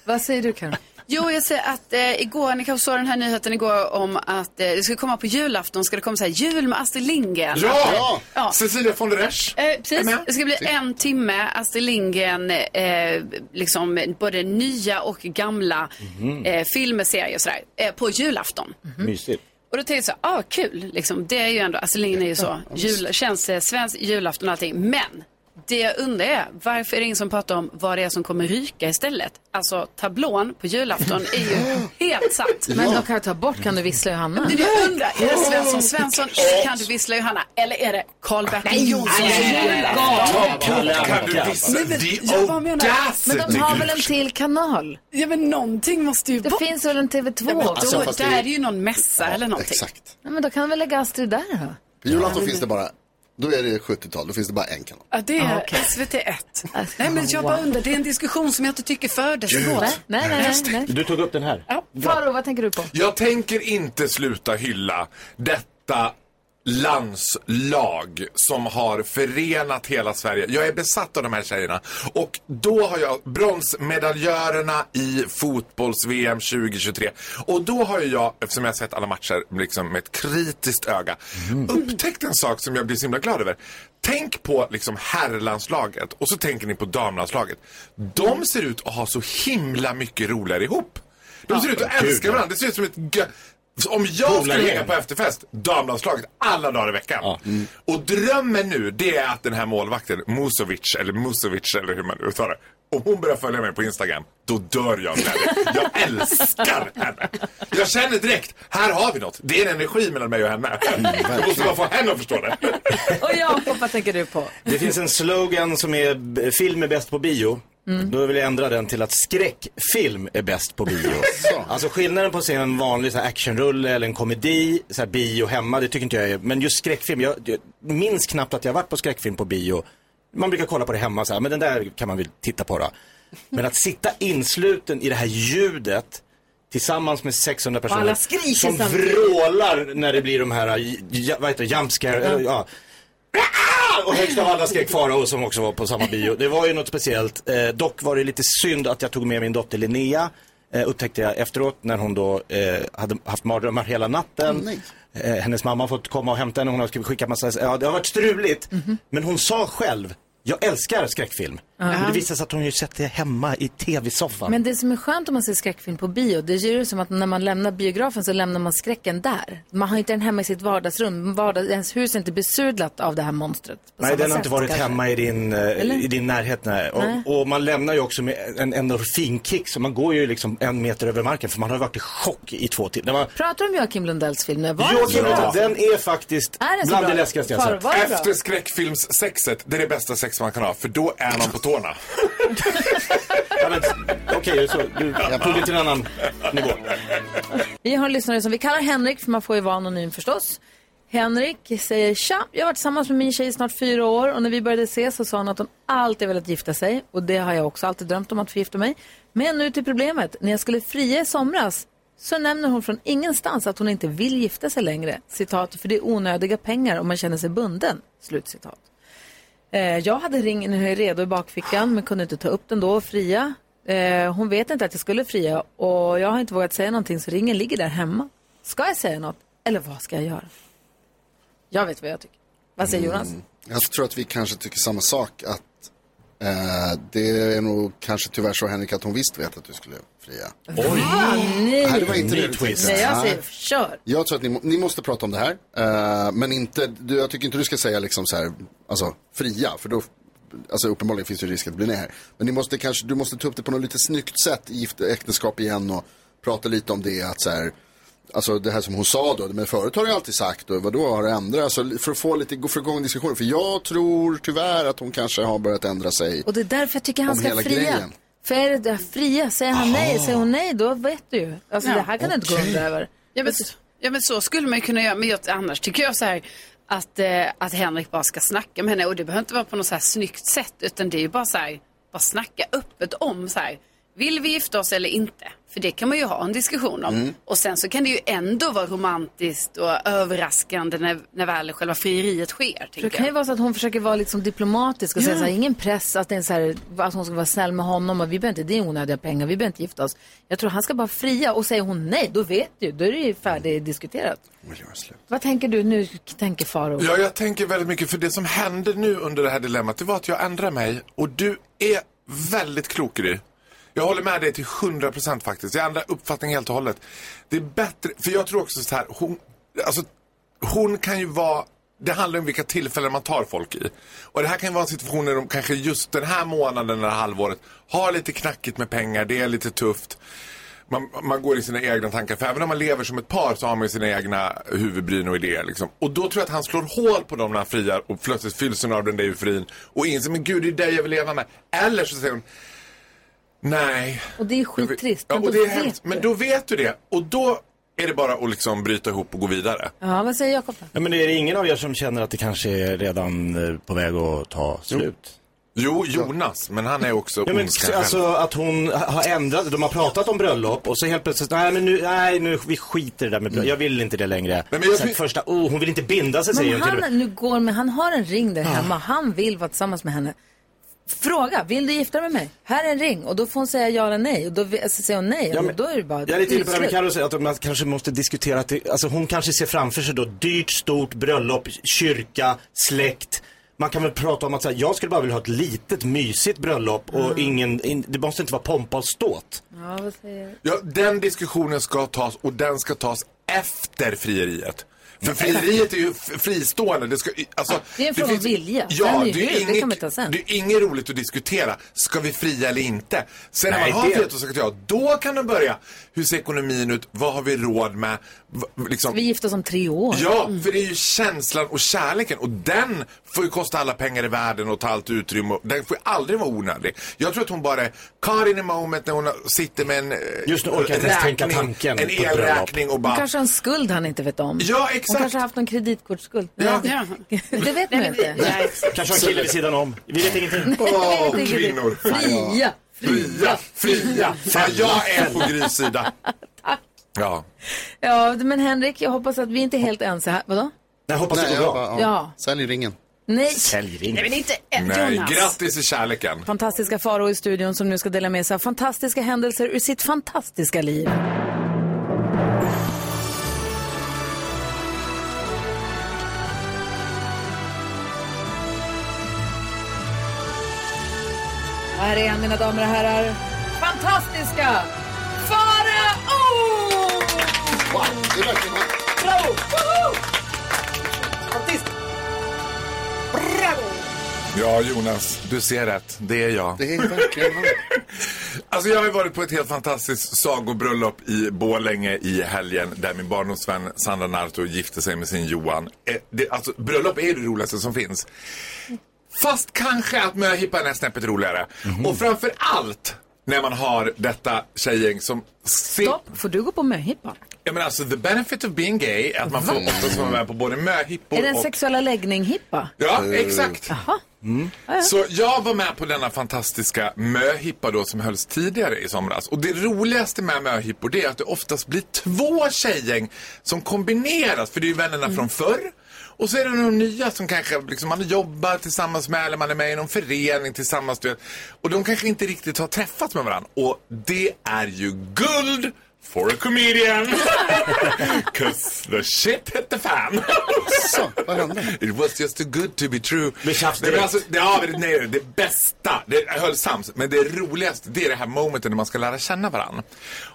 S1: Vad säger du, Karin?
S4: Jo, jag säger att eh, igår, ni kanske såg den här nyheten igår om att eh, det skulle komma på julafton, ska det komma så här jul med Astrid Lindgren. Att, eh,
S14: Ja! Cecilia von der Esch.
S4: Eh, precis,
S14: Är med.
S4: det ska bli en timme Astrid Lindgren, eh, liksom både nya och gamla
S13: Mm.
S3: Mhm.
S4: eh, filmer, serier och sådär, eh, på julafton.
S1: mhm.
S3: Mysigt.
S4: Och då tänkte jag så, här, ah kul, liksom. det är ju ändå, Astrid Lindgren är ju så, jul, känns eh, svensk julafton och allting. Men det jag undrar är, varför är det ingen som pratar om vad det är som kommer ryka istället? Alltså tablån på julafton är ju helt satt.
S1: Men de kan jag ta bort, kan du vissla Johanna?
S4: Det är det jag undrar, är det Svensson Svensson, kan du vissla Johanna? Eller är det Karl-Bertil Jonsson?
S1: nej, nej, nej, nej.
S14: Kan du vissa?
S4: Men-
S14: The
S4: Ja, vad menar jag?
S1: Men
S14: audacity!
S1: de har väl en till kanal?
S4: Ja, men någonting måste ju
S1: Det finns väl en TV2
S4: Ja, men då,
S2: Alltså, fast
S4: där
S2: det-
S4: är ju någon mässa eller någonting.
S2: Exakt.
S1: Nej, men då kan väl lägga Astrid där då?
S2: På julafton finns det bara, då är det 70-tal, då finns det bara en kanal.
S4: Ja, det
S1: Ah,
S4: är SVT1. Nej, men jag bara undrar, det är en diskussion som jag inte tycker fördes
S14: Gud.
S4: igår.
S14: Nej,
S1: nej, nej.
S3: Du tog upp den här.
S1: Faro, vad tänker du på?
S13: Alltså.
S14: Jag tänker inte sluta hylla detta landslag som har förenat hela Sverige. Jag är besatt av de här tjejerna. Och då har jag bronsmedaljörerna i fotbolls-VM 2023. Och då har ju jag, eftersom jag har sett alla matcher liksom med ett kritiskt öga,
S13: Mhm.
S14: upptäckt en sak som jag blir så himla glad över. Tänk på liksom herrlandslaget och så tänker ni på damlandslaget. De ser ut att ha så himla mycket roligare ihop. De ser ut att
S13: Gud,
S14: älska
S13: ja.
S14: varandra. Det ser ut som ett gö- Om jag skulle
S13: Polargäng.
S14: hänga på efterfest, damlandslaget, alla dagar i veckan.
S3: Mm.
S14: Och drömmen nu, det är att den här målvakten, Musovic, eller Musovic, eller hur man uttalar det. Om hon börjar följa mig på Instagram, då dör jag av glädje. Jag älskar henne. Jag känner direkt, här har vi något. Det är en energi mellan mig och henne.
S3: Mm,
S14: Jag måste bara få henne att förstå det.
S1: Och Jakob, vad tänker du på?
S3: Det finns en slogan som är b- film är bäst på bio.
S13: Mm.
S3: Då vill jag ändra den till att skräckfilm är bäst på bio. alltså skillnaden på att se en vanlig så här, actionrulle eller en komedi, så här, bio hemma, det tycker inte jag är. Men just skräckfilm, jag, jag minns knappt att jag varit på skräckfilm på bio. Man brukar kolla på det hemma så här, men den där kan man väl titta på då. Men att sitta insluten i det här ljudet tillsammans med 600 personer
S13: alla skriker
S3: som
S13: samtidigt.
S3: vrålar när det blir de här, j- j- vad heter det, jump scare, eller, ja. Ah! Och högst av alla skrek Farao som också var på samma bio. Det var ju något speciellt. Eh, dock var det lite synd att jag tog med min dotter Linnea. Eh, upptäckte jag efteråt när hon då eh, hade haft mardrömmar hela natten. eh, hennes mamma har fått komma och hämta henne. Hon har skickat massa, ja det har varit struligt. Men hon sa själv, jag älskar skräckfilm. Men det visade sig att hon ju sett det hemma i tv-soffan.
S1: Men det som är skönt om man ser skräckfilm på bio, det är ju som att när man lämnar biografen så lämnar man skräcken där. Man har inte den hemma i sitt vardagsrum. Vardag, ens hus är inte besudlat av det här monstret. på
S3: Nej,
S1: samma
S3: den har
S1: sätt
S3: inte varit
S1: kanske.
S3: hemma i din, eh,
S1: Eller?
S3: i din närhet. Nej.
S1: Nej.
S3: Och, och man lämnar ju också med en endorfinkick, så man går ju liksom en meter över marken, för man har varit i chock i två timmar. Man,
S1: Pratar du om Joakim Lundells film nu? Var den så
S3: Joakim,
S1: bra?
S3: den är faktiskt
S1: Är den så
S3: bland
S1: bra?
S3: det läskigaste jag har sett.
S1: Var det bra?
S14: Efter skräckfilmssexet, det är det bästa sex man kan ha, för då är man på tårna.
S3: Okej, så du tog det till en annan nivå.
S1: Vi har en lyssnare som vi kallar Henrik, för man får ju vara anonym förstås. Henrik säger tja, jag har varit tillsammans med min tjej i snart fyra år och när vi började ses så sa hon att hon alltid velat gifta sig och det har jag också alltid drömt om att få gifta mig. Men nu till problemet, när jag skulle fria i somras så nämner hon från ingenstans att hon inte vill gifta sig längre. Citat, för det är onödiga pengar om man känner sig bunden. Slutcitat. Eh, jag hade ringen redo i bakfickan men kunde inte ta upp den då och fria. Eh, hon vet inte att jag skulle fria och jag har inte vågat säga någonting så ringen ligger där hemma. Ska jag säga något eller vad ska jag göra? Jag vet vad jag tycker. Vad säger Jonas?
S2: Mm. Jag tror att vi kanske tycker samma sak. Att eh, Det är nog kanske tyvärr så Henrik att hon visst vet att du skulle fria.
S14: Ah,
S1: Oj! Nej.
S2: Nej, det var inte det du tänkte.
S1: Nej, jag
S2: Nej.
S1: säger kör.
S2: Jag tror att ni, må- ni måste prata om det här. eh, men inte, du, jag tycker inte du ska säga liksom så här, alltså fria. För då, alltså uppenbarligen finns det ju risk att det blir nej här. Men ni måste kanske, du måste ta upp det på något lite snyggt sätt i gift, äktenskap igen och prata lite om det att så här, Alltså det här som hon sa då, men förut har du alltid sagt och vadå har du ändrat? Alltså för att få lite, gå för igång diskussioner. För jag tror tyvärr att hon kanske har börjat ändra sig.
S1: Och det är därför jag tycker han
S2: Om
S1: ska
S2: hela
S1: fria.
S2: grejen.
S1: För är det där fria, säger han nej, säger hon nej, då vet du ju. Alltså
S4: Ja.
S1: det här kan du inte gå
S4: Okej.
S1: under över.
S4: Ja men, ja, men så skulle man ju kunna göra. Men jag, annars tycker jag så här att, eh, att Henrik bara ska snacka med henne. Och det behöver inte vara på något så här snyggt sätt. Utan det är ju bara så här, bara snacka öppet om så här. Vill vi gifta oss eller inte? För det kan man ju ha en diskussion om.
S13: Mm.
S4: Och sen så kan det ju ändå vara romantiskt och överraskande när, när väl själva frieriet sker.
S1: För det
S4: Tänker
S1: kan ju
S4: jag.
S1: vara så att hon försöker vara liksom diplomatisk och säga
S4: Ja.
S1: så här, ingen press, att, det är så här, att hon ska vara snäll med honom och vi behöver inte, det är onödiga pengar, vi behöver inte gifta oss. Jag tror han ska bara fria och säger hon nej, då vet du, då är det ju färdigdiskuterat. Vad tänker du nu, tänker Faro?
S14: Ja, jag tänker väldigt mycket, för det som hände nu under det här dilemmat, det var att jag ändrade mig och du är väldigt klok i Jag håller med dig till 100% faktiskt. Jag ändrar uppfattning helt och hållet. Det är bättre, för jag tror också så här, hon, alltså, hon kan ju vara, det handlar om vilka tillfällen man tar folk i. Och det här kan ju vara en situation där de kanske just den här månaden eller halvåret har lite knackigt med pengar, det är lite tufft man, man går i sina egna tankar. För även om man lever som ett par så har man ju sina egna huvudbryn och idéer. Liksom. Och då tror jag att han slår hål på dem när han friar och plötsligt fylls hon av den där euforin och inser men gud det är dig jag vill leva med. Eller så säger hon nej.
S1: Och det är skittrist.
S14: Ja,
S1: men
S14: och
S1: då
S14: det är
S1: vet
S14: hemskt.
S1: du.
S14: Men då vet du det. Och då är det bara att liksom bryta ihop och gå vidare.
S1: Ja, vad säger Jakob? då?
S3: Nej, men är det ingen av er som känner att det kanske är redan eh, på väg att ta slut?
S14: Jo, Jonas, men han är också
S3: Ja, men,
S14: ondskan själv.
S3: alltså att hon ha- har ändrat, de har pratat om bröllop och så helt plötsligt, nej men nu, nej nu, vi skiter i det där med bröllop, jag vill inte det längre. Mm. Nej, men jag... Sen första, oh, hon vill inte binda sig säger
S1: Men
S3: hon till och med.
S1: han, nu går med, han har en ring där hemma, han vill vara tillsammans med henne. Fråga, vill du gifta dig med mig? Här är en ring. Och då får hon säga ja eller nej. Och då vi- alltså, säger hon nej.
S3: Ja,
S1: och
S3: men-
S1: då är det bara
S3: Jag är lite inne på det här med
S1: utslut.
S3: Carro säger, att man kanske måste diskutera att det, alltså hon kanske ser framför sig då dyrt, stort bröllop, kyrka, släkt. Man kan väl prata om att så här, jag skulle bara vilja ha ett litet mysigt bröllop och ingen, in, det måste inte vara pompa och ståt.
S1: Ja, vad säger
S14: Ja, den diskussionen ska tas och den ska tas efter frieriet. För frieriet är ju f- fristående. Det, ska, alltså,
S1: Det är en fråga om
S14: finns-
S1: vilja. Den
S14: Ja,
S1: är ju
S14: det
S1: hur, det
S14: är,
S1: kan man ta
S14: inget,
S1: sen.
S14: det är inget roligt att diskutera. Ska vi fria eller inte? Sen när
S3: Nej,
S14: man har
S3: det-
S14: frihet och sagt ja, då kan de börja. Hur ser ekonomin ut? Vad har vi råd med? V- liksom-
S1: Vi gifter oss om tre år. Mm.
S14: Ja, för det är ju känslan och kärleken och den får ju kosta alla pengar i världen och ta allt utrymme. och Den får ju aldrig vara onödig. Jag tror att hon bara är caught in a moment när hon sitter med en eh,
S3: Just nu orkar jag inte ens tänka tanken
S14: en
S3: på ett bröllop.
S14: elräkning och
S1: Hon
S14: bara...
S1: kanske har en skuld han inte vet om.
S14: Ja, exakt.
S1: Hon kanske har haft någon kreditkortsskuld.
S14: Ja.
S1: Nej, Det vet man ju inte.
S3: Kanske har en kille vid sidan om. Vi vet ingenting.
S1: Det
S14: Åh,
S1: är ingenting.
S14: kvinnor.
S1: Fria.
S14: Fria, fria. Fan, jag är på Grys sida. Ja.
S1: Ja, men Henrik, jag hoppas att vi inte är helt ense här. Vadå?
S3: Jag hoppas
S1: det går bra.
S2: jag bara,
S1: Ja.
S2: Sälj ringen.
S1: Nej.
S3: Sälj ringen.
S1: Nej, men inte än,
S14: Nej,
S1: Jonas.
S14: grattis i kärleken.
S1: Fantastiska Faro i studion som nu ska dela med sig av fantastiska händelser ur sitt fantastiska liv. Och här är han, mina damer och herrar. Fantastiska Farao! Wow,
S2: det är verkligen han.
S1: Bravo! Woho!
S13: Artist. Bravo!
S14: Ja, Jonas, du ser rätt. Det är jag.
S2: Det är verkligen han.
S14: Alltså jag har ju varit på ett helt fantastiskt sagobröllop i Borlänge i helgen där min barndomsvän Sandra Narto gifte sig med sin Johan. Eh, det, alltså bröllop är ju det roligaste som finns. Fast kanske att möhippan är snäppet roligare. Och framför allt när man har detta tjejgäng som... Se...
S1: Stopp, får du gå på möhippa?
S14: Ja men alltså the benefit of being gay är att man får oftast vara med på både möhippor
S1: Är det en
S14: och...
S1: sexuella läggning-hippa?
S14: Ja, exakt.
S1: Jaha.
S14: Mm. Så jag var med på denna fantastiska möhippa då som hölls tidigare i somras. Och det roligaste med möhippor det är att det oftast blir två tjejgäng som kombineras. För det är ju vännerna från förr. Och så är det de nya som kanske liksom, man jobbar tillsammans med eller man är med i någon förening tillsammans. Du vet. Och de kanske inte riktigt har träffats med varandra. Och det är ju guld for a comedian. Cause the shit hit the fan.
S2: Så, vad hände?
S14: It was just too good to be true.
S3: Med tjafs
S14: Nej, men
S3: direkt.
S14: alltså, det, ja, men det- nej, det bästa, det jag höll sams, men det roligaste det är det här momentet när man ska lära känna varandra.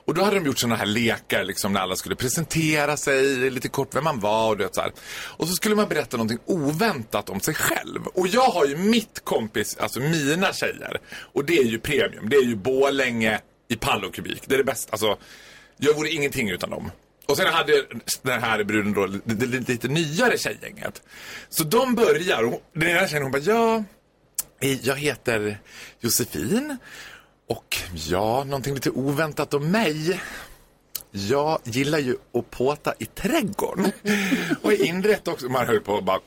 S14: Och då hade de gjort sådana här lekar liksom, när alla skulle presentera sig, lite kort vem man var och du vet, så här. Och så skulle man berätta någonting oväntat om sig själv. Och jag har ju mitt kompis, alltså mina tjejer. Och det är ju premium, det är ju Borlänge i pall och kubik. Det är det bästa, alltså jag vore ingenting utan dem. Och sen hade den här bruden då det, det, det lite nyare tjejgänget. Så de börjar och den ena tjejen hon bara ja, eh, jag heter Josefin och ja, någonting lite oväntat om mig. Jag gillar ju att påta i trädgården. Och i inrätt också. Man höll på och bara...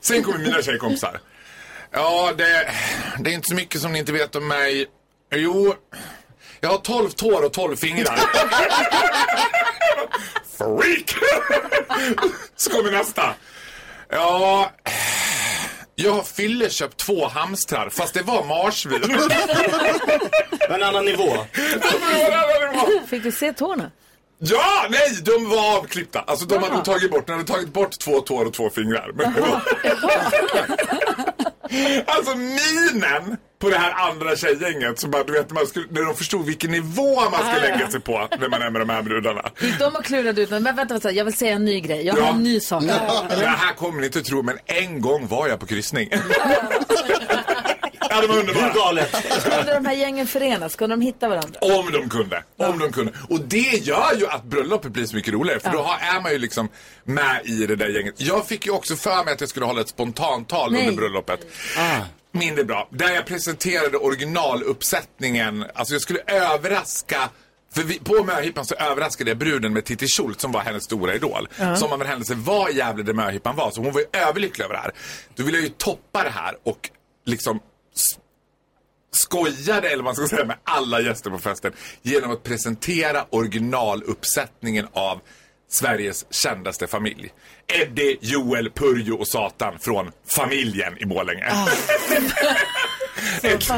S14: Sen kommer mina tjejkompisar. Ja, det, det är inte så mycket som ni inte vet om mig. Jo, jag har 12 tår och 12 fingrar. Freak! Så kommer nästa. Ja, jag har fylle köpt två hamstrar fast det var marsvin.
S3: En annan nivå.
S1: Fick du se tårna?
S14: Ja, nej, de var avklippta. Alltså de hade tagit bort, de hade tagit bort två tår och två fingrar. Men det var... alltså minen på det här andra tjejgänget som bara, du vet, man skulle, när de förstod vilken nivå man ska
S1: Ah, ja.
S14: lägga sig på när man är med de här brudarna.
S1: Gick de och klurade ut? Men vänta, vänta, vänta, jag vill säga en ny grej. Jag har en ny sak.
S14: Det här kommer ni inte tro, men en gång var jag på kryssning. ja, det var underbart.
S1: Kunde de här gängen förenas? Kunde de hitta varandra?
S14: Om de kunde. Om de kunde. Och det gör ju att bröllopet blir så mycket roligare. För då har- är man ju liksom med i det där gänget. Jag fick ju också för mig att jag skulle hålla ett spontantal
S7: Nej.
S14: under bröllopet.
S3: Ah.
S14: Mindre bra. Där jag presenterade originaluppsättningen. Alltså jag skulle överraska för vi, på möhippan så överraskade jag bruden med Titti Schultz som var hennes stora idol.
S7: Ja.
S14: Som av en händelse var i Gävle där möhippan var. Så hon var ju överlycklig över det här. Då ville jag ju toppa det här och liksom s- skojade, eller vad man ska säga, med alla gäster på festen genom att presentera originaluppsättningen av Sveriges kändaste familj. Eddie, Joel, Purjo och Satan från familjen i Borlänge. Ett-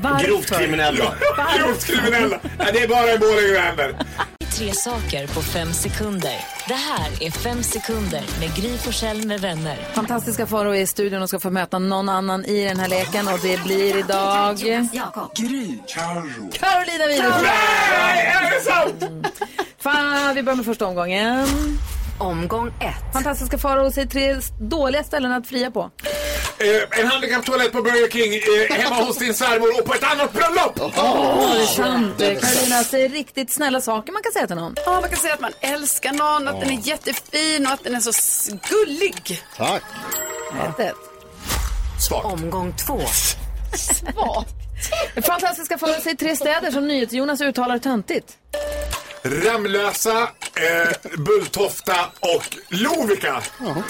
S3: varför? Grovt kriminella.
S14: Ja, Grovt kriminella. Nej, det är bara i Borlänge det händer.
S16: Tre saker på fem sekunder. Det här är Fem sekunder med Gry Forssell med vänner.
S1: Fantastiska Farao är i studion och ska få möta någon annan i den här leken och det blir idag...
S13: Gry. Carro.
S1: Carolina Widerström! Mm.
S13: Nej,
S14: är det sant?
S1: Fan, vi börjar med första omgången. Omgång ett. Fantastiska Farao säger tre dåliga ställen att fria på.
S14: Eh, en handikapptoalett på Burger King, eh, hemma hos din svärmor och på ett annat bröllop!
S1: Åh, det är sant. Eh, Carolina säger riktigt snälla saker man kan säga till någon.
S4: Ja, man kan säga att man älskar någon, att den är jättefin och att den är så s- gullig.
S2: Tack.
S16: Omgång två.
S1: Fantastiska Farao säger tre städer som NyhetsJonas uttalar töntigt.
S14: Ramlösa, eh, Bulltofta och Lovika.
S1: Bra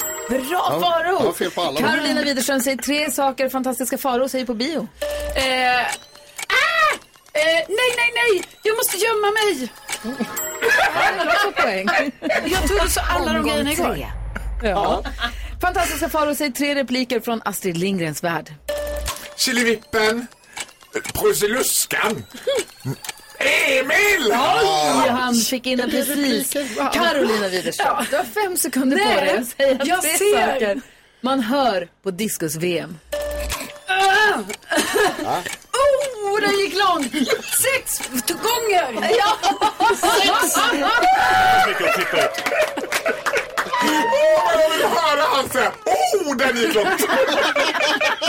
S14: Ja,
S1: Farao!
S14: jag har fel på alla.
S1: Carolina Widerström säger tre saker fantastiska Farao säger på bio.
S4: Eh, ah! eh, nej, nej, nej! Jag måste gömma mig. Jag tog så alla de
S1: Omgång
S4: grejerna
S1: tre.
S4: igår.
S1: Ja. Fantastiska Farao säger tre repliker från Astrid Lindgrens värld.
S14: Killevippen, Prussiluskan, Emil!
S1: Oj, han fick in den precis.
S4: Wow.
S1: Carolina Widerström,
S4: Ja.
S1: du har fem sekunder på
S4: Nej,
S1: dig att säga
S4: jag
S1: tre
S4: ser.
S1: saker man hör på diskus-VM.
S4: Ah!
S1: Oh, den gick långt! Sex gånger! Ja.
S13: Sex.
S14: mycket att klippa ut. Åh, vad jag vill höra han säga! Oh, den gick långt!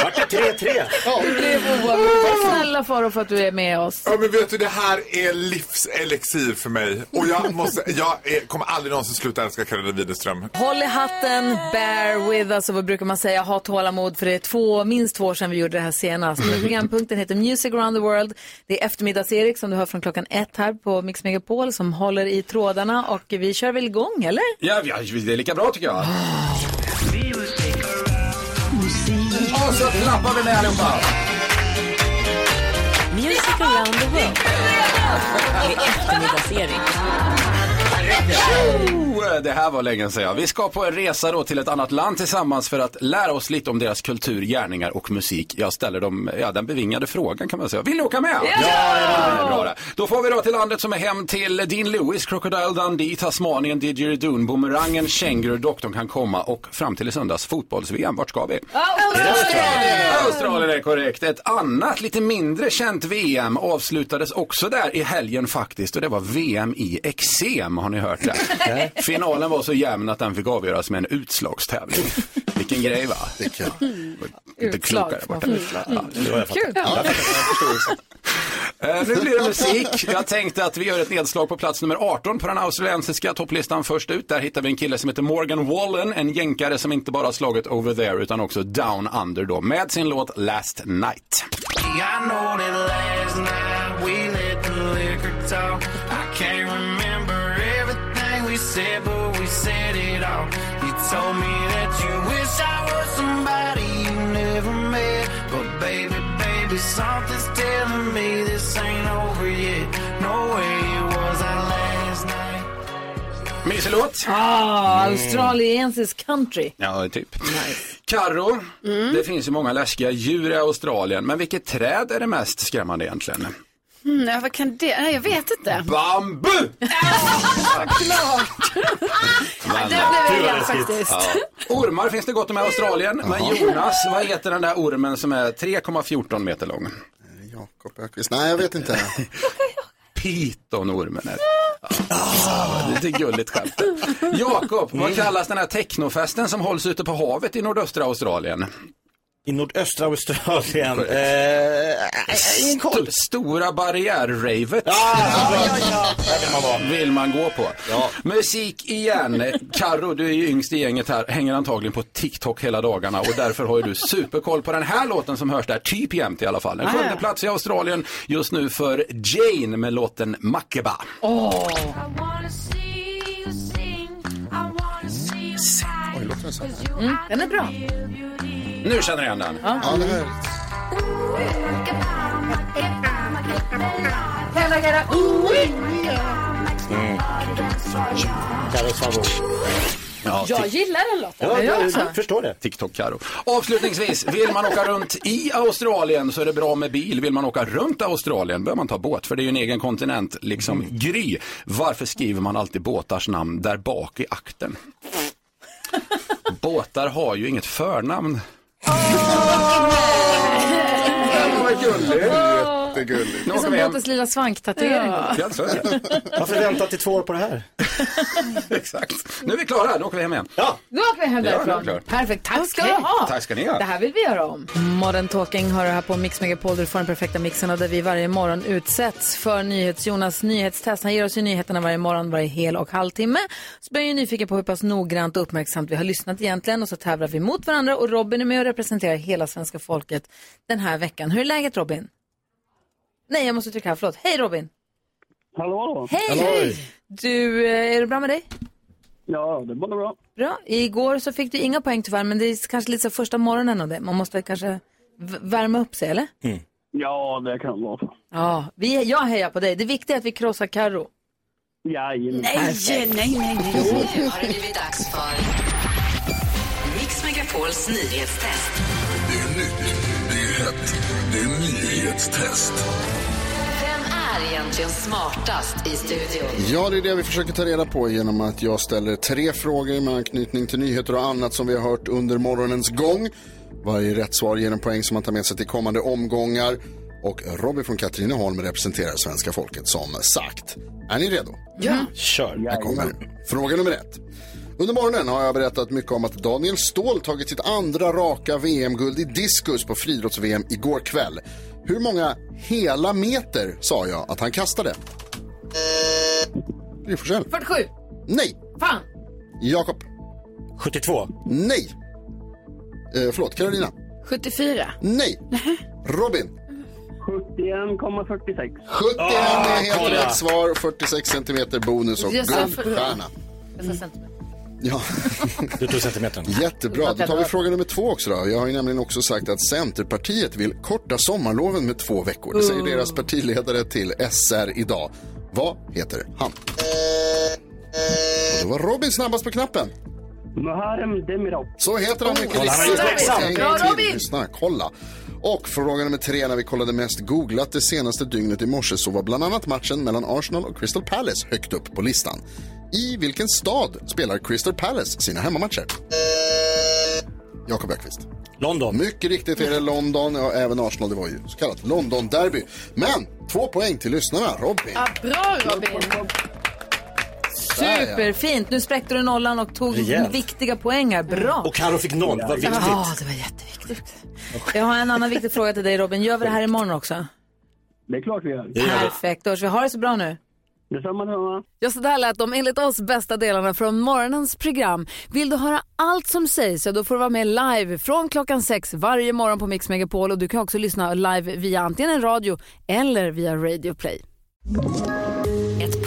S3: Vart det 3-3?
S1: Det blev oavgjort. Tack snälla Farao för att du är med oss.
S14: Ja, men vet du, det här är livselixir för mig. Och jag, måste, jag är, kommer aldrig någonsin sluta älska Karolina Widerström.
S1: Håll i hatten, bear with us och vad brukar man säga, ha tålamod för det är två, minst två år sedan vi gjorde det här senast. Men Programpunkten heter Music around the world. Det är eftermiddags-Erik som du hör från klockan ett här på Mix Megapol som håller i trådarna och vi kör väl igång eller?
S17: Ja, ja, det är lika bra tycker jag. Och så klappar vi med allihopa.
S16: Music around the world. Med eftermiddagsserie.
S17: Tjo! Det här var länge sedan. Vi ska på en resa då till ett annat land tillsammans för att lära oss lite om deras kultur, gärningar och musik. Jag ställer dem, ja, den bevingade frågan kan man säga. Vill ni åka med?
S13: Ja!
S17: det är bra det. Då får vi då till landet som är hem till Dean Lewis, Crocodile Dundee, Tasmanien, Didgeridoon, Boomerangen, Känguru, Doktorn kan komma och fram till i söndags fotbolls-VM. Vart ska vi? Australien är korrekt. Ett annat lite mindre känt VM avslutades också där i helgen faktiskt och det var VM i eksem. Har ni hört
S13: Nej.
S17: det? Finalen var så jämn att den fick avgöras med en utslagstävling. Vilken grej va? Det kan. Inte
S13: Utslag,
S17: klokare borta.
S4: Mm.
S13: man får-
S17: Ja, det var jag
S13: Kul.
S17: fattar. Jag fattar. Eh, nu blir det musik. Jag tänkte att vi gör ett nedslag på plats nummer 18 på den australiensiska topplistan först ut. Där hittar vi en kille som heter Morgan Wallen, en jänkare som inte bara har slagit Over There utan också Down Under då med sin låt Last Night.
S13: I know that last night we let the liquor talk. I can't remember everything we said, but we said it all. You told me that you wish I was somebody you never met. But baby, baby, something's telling me this ain't over yet. No way it was our last night.
S17: Mysig låt.
S1: Ah,
S17: Mm.
S1: australiensisk country.
S17: Ja, typ. Karo,
S4: Mm.
S17: det finns ju många läskiga djur i Australien, men vilket träd är det mest skrämmande egentligen?
S4: Mm, ja, vad kan det? Nej, jag vet inte.
S17: Bambu!
S4: Klart.
S17: Men-
S4: det blev jag faktiskt.
S17: Ja. Ormar finns det gott om i Australien, men
S2: Jaha.
S17: Jonas, vad heter den där ormen som är 3,14 meter lång?
S2: Jakob Öqvist. Nej, jag vet inte.
S17: Pitonormen är det. Ja, det. är ett gulligt skämt. Jakob,
S3: Mm.
S17: vad kallas den här technofesten som hålls ute på havet i nordöstra Australien?
S3: I nordöstra Australien? Eh, ingen koll.
S17: St- stora barriär-ravet. Vill man gå på. Musik igen. Karo, du är ju yngst i gänget här. Hänger antagligen på TikTok hela dagarna och därför har ju du superkoll på den här låten som hörs där, typ jämt i alla fall. En
S1: Ah, ja.
S17: sjunde plats i Australien just nu för Jane med låten Makeba.
S1: Åh, mm, den är bra.
S17: Nu känner jag igen den.
S3: Mm. Carros favorit.
S17: Ja,
S13: Jag gillar den låten. Ja, jag också.
S3: förstår det.
S17: TikTok Karo. Avslutningsvis, vill man åka runt i Australien så är det bra med bil. Vill man åka runt Australien behöver man ta båt för det är ju en egen kontinent, liksom Gry. Varför skriver man alltid båtars namn där bak i akten? Båtar har ju inget förnamn. Vad gulligt.
S2: Jättegulligt.
S1: Det är som båtens lilla svanktatuering.
S17: Ja, så är det.
S3: Varför väntat i två år på det här?
S17: Exakt. Nu är vi klara, nu åker vi hem igen.
S1: Nu åker vi hem
S17: Ja,
S1: därifrån.
S17: det är klart.
S1: Perfekt, tack ska du ha.
S17: Tack ska ni ha.
S1: Det här vill vi göra om. Modern Talking har det här på Mix Megapol där du får den perfekta mixen och där vi varje morgon utsätts för NyhetsJonas nyhetstest. Han ger oss ju nyheterna varje morgon, varje hel och halvtimme. Så blir jag ju nyfiken på hur pass noggrant och uppmärksamt vi har lyssnat egentligen och så tävlar vi mot varandra och Robin är med och representerar hela svenska folket den här veckan. Hur är läget Robin? Nej, jag måste trycka här, förlåt. Hej Robin!
S18: Hallå!
S1: Hej! Du, eh, är det bra med dig?
S18: Ja, det var bra.
S1: Bra. Igår så fick du inga poäng tyvärr, men det är kanske lite så första morgonen av det. Man måste kanske v- värma upp sig, eller?
S18: Ja, det kan vara.
S1: Ja, vi, jag hejar på dig. Det viktiga är att vi krossar Karo.
S18: Jajamän.
S1: nej, nej,
S16: Nu har det blivit dags för Mix Megapols nyhetstest.
S13: Det är nytt, det är hett, det är nyhetstest.
S16: Vem är egentligen smartast i studion?
S2: Ja, det är det vi försöker ta reda på genom att jag ställer tre frågor med anknytning till nyheter och annat som vi har hört under morgonens gång. Varje rätt svar ger en poäng som man tar med sig till kommande omgångar. Och Robin från Katrineholm representerar svenska folket som sagt. Är ni redo?
S13: Ja.
S2: Kör. Här kommer fråga nummer ett. Under morgonen har jag berättat mycket om att Daniel Ståhl tagit sitt andra raka VM-guld i diskus på friidrotts-VM igår kväll. Hur många hela meter sa jag att han kastade? Det är Forsell.
S1: 47.
S2: Nej.
S1: Fan.
S2: Jakob. 72. Nej. Eh, förlåt, Carolina.
S1: 74.
S2: Nej. Robin.
S18: 71,46.
S2: 71 är helt rätt svar. 46 centimeter bonus och
S18: Jag sa för-
S2: guldstjärna. Ja.
S3: Du tog centimetern.
S2: Jättebra. Då tar vi fråga nummer två också. Då. Jag har ju nämligen också sagt att Centerpartiet vill korta sommarloven med två veckor. Det säger
S13: Oh.
S2: deras partiledare till SR idag. Vad heter han? Och det var Robin snabbast på knappen.
S18: Muharrem Demirov.
S2: Så heter han mycket riktigt. En gång till. Lyssna, kolla. Och fråga nummer tre, när vi kollade mest googlat det senaste dygnet i morse så var bland annat matchen mellan Arsenal och Crystal Palace högt upp på listan. I vilken stad spelar Crystal Palace sina hemmamatcher? Jakob Ökvist.
S3: London.
S2: Mycket riktigt är det London och även Arsenal. Det var ju så kallat London-derby. Men två poäng till lyssnarna. Robin.
S4: Ja, bra Robin!
S1: Superfint. Nu spräckte du nollan och tog
S3: Rejält.
S1: viktiga poäng här. Bra.
S3: Och Karo fick noll, vad viktigt.
S1: Ja, det var jätteviktigt. Jag har en annan viktig fråga till dig Robin. Gör vi det här imorgon också?
S18: Det är klart vi gör.
S1: Perfekt. Då hörs vi. Ha det så bra nu.
S18: Detsamma, detsamma.
S19: Ja, så där lät de enligt oss bästa delarna från morgonens program. Vill du höra allt som sägs så då får du vara med live från klockan sex varje morgon på Mix Megapol och du kan också lyssna live via antingen en radio eller via Radio Play.
S16: Ett